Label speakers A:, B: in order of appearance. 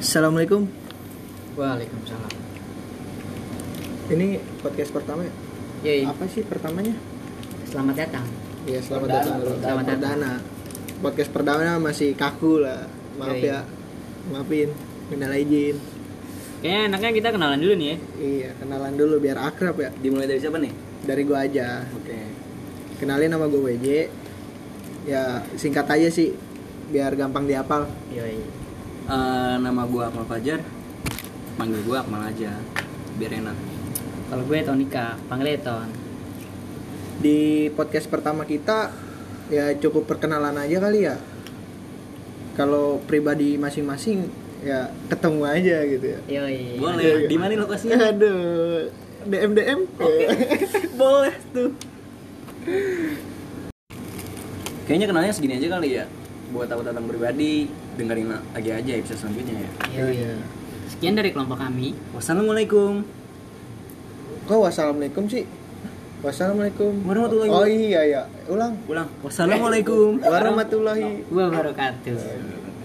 A: Assalamualaikum.
B: Waalaikumsalam.
A: Ini podcast pertama ya?
B: Yoi,
A: Apa sih pertamanya?
B: Iya, selamat datang.
A: Ya selamat
B: Perdana,
A: datang.
B: perdana.
A: Selamat perdana. Podcast perdana masih kaku lah. Maaf
B: Yoi.
A: ya. Maafin. Kendala izin.
C: Kayaknya enaknya kita kenalan dulu nih ya.
A: Iya, kenalan dulu biar akrab ya.
C: Dimulai dari siapa nih?
A: Dari gua aja.
C: Oke.
A: Kenalin nama gua WJ. Ya singkat aja sih biar gampang dihafal.
B: Yoi.
C: Eh, nama gua Akmal Fajar. Manggil gua Akmal aja. Biar enak.
B: Kalau gue Tonika, panggilnya Ton.
A: Di podcast pertama kita ya cukup perkenalan aja kali ya. Kalau pribadi masing-masing ya ketemu aja gitu ya.
B: Yoi.
C: Boleh. Di mana lokasinya?
A: Aduh, DM DM.
C: Boleh tuh. Kayaknya kenalnya segini aja kali ya. Buat tahu tentang pribadi, dengerin lagi aja episode selanjutnya ya.
B: Yoi. Iya, Sekian dari kelompok kami.
C: Wassalamualaikum.
A: Kok wassalamualaikum sih? Wassalamualaikum.
C: Warahmatullahi
A: Oh iya ya, ulang.
C: Ulang.
A: Eh,
C: Wassalamualaikum.
A: Warahmatullahi.
C: Iya,
B: Gue baru kartu.